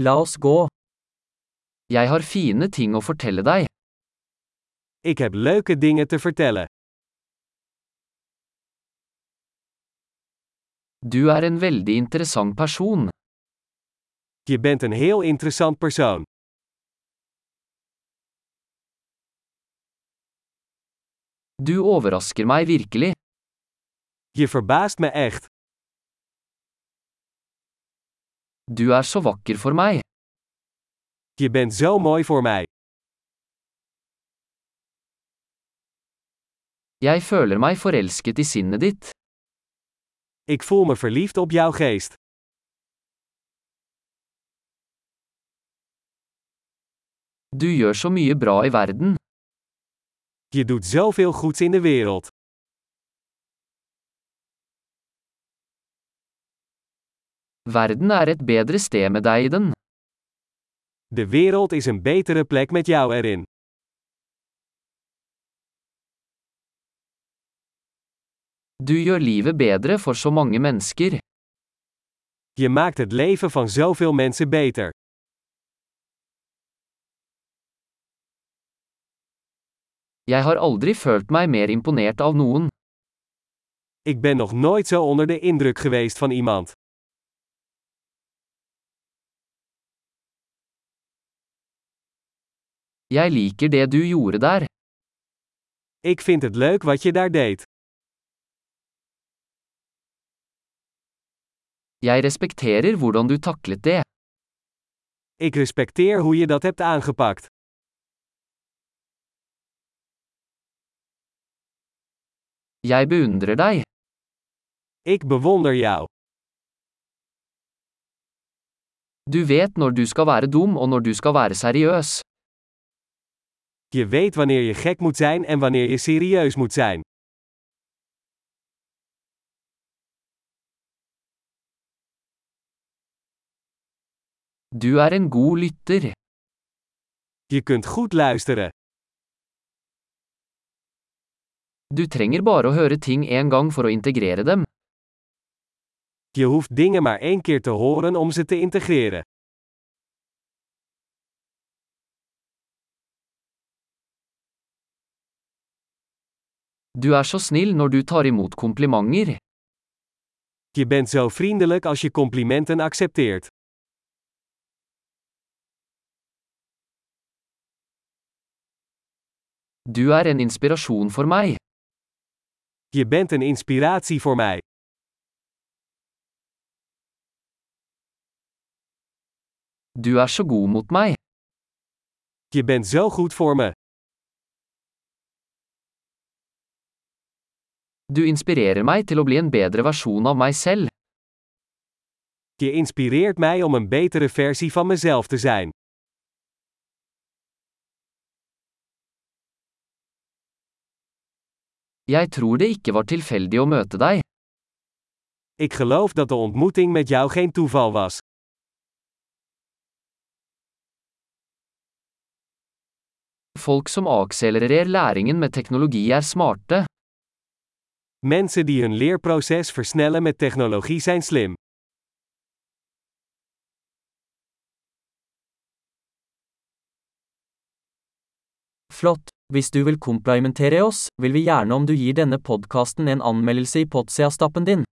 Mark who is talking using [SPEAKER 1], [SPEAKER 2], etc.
[SPEAKER 1] La oss gå. Jeg har fine ting å fortelle deg.
[SPEAKER 2] Ik heb leuke dingen te vertellen.
[SPEAKER 1] Du er en veldig interessant person.
[SPEAKER 2] Je bent een heel interessant persoon.
[SPEAKER 1] Du overrasker meg virkelig.
[SPEAKER 2] Je verbaast me echt.
[SPEAKER 1] Du er så vakker for meg.
[SPEAKER 2] Je bent zo mooi voor mij.
[SPEAKER 1] Jeg føler meg forelsket i sinnet ditt.
[SPEAKER 2] Ik voel me verliefd op jouw geest.
[SPEAKER 1] Du gjør så mye bra i verden.
[SPEAKER 2] Je doet zoveel goeds in de wereld.
[SPEAKER 1] Verden er et bedre sted med deg i den.
[SPEAKER 2] De wereld is een betere plek met jou erin.
[SPEAKER 1] Du gjør livet bedre for så mange mennesker.
[SPEAKER 2] Je maakt het leven van zoveel mensen beter.
[SPEAKER 1] Jeg har aldri følt meg mer imponert av noen.
[SPEAKER 2] Ik ben nog nooit zo onder de indruk geweest van iemand.
[SPEAKER 1] Jeg liker det du gjorde der.
[SPEAKER 2] Ik vind het leuk wat je daar deed.
[SPEAKER 1] Jeg respekterer hvordan du taklet det.
[SPEAKER 2] Ik respecteer hoe je dat hebt aangepakt.
[SPEAKER 1] Jeg beundrer deg.
[SPEAKER 2] Ik bewonder jou.
[SPEAKER 1] Du vet når du skal være dum og når du skal være seriøs.
[SPEAKER 2] Je weet wanneer je gek moet zijn en wanneer je serieus moet zijn.
[SPEAKER 1] Du er en god lytter.
[SPEAKER 2] Je kunt goed luisteren.
[SPEAKER 1] Du trenger bare å høre ting en gang for å integrere dem.
[SPEAKER 2] Je hoeft dingen maar één keer te horen om ze te integreren.
[SPEAKER 1] Du er så snill når du tar imot komplimenter.
[SPEAKER 2] Je bent zo vriendelijk als je complimenten accepteert.
[SPEAKER 1] Du er en inspirasjon for meg.
[SPEAKER 2] Je bent een inspiratie voor mij.
[SPEAKER 1] Du er så god mot meg.
[SPEAKER 2] Je bent zo goed voor me.
[SPEAKER 1] Du inspirerer meg til å bli en bedre versjon av meg selv.
[SPEAKER 2] Je inspireert mij om een betere versie van mezelf te zijn.
[SPEAKER 1] Jeg tror det ikke var tilfeldig å møte deg.
[SPEAKER 2] Ik geloof dat de ontmoeting met jou geen toeval was.
[SPEAKER 1] Folk som akselererer læringen med teknologi er smarte.
[SPEAKER 2] Mensen die hun leerproces versnellen met technologie zijn slim.
[SPEAKER 3] Flott. Hvis du vil komplimentere oss, vil vi gjerne om du gir denne podkasten en anmeldelse i Potsia-stappen din.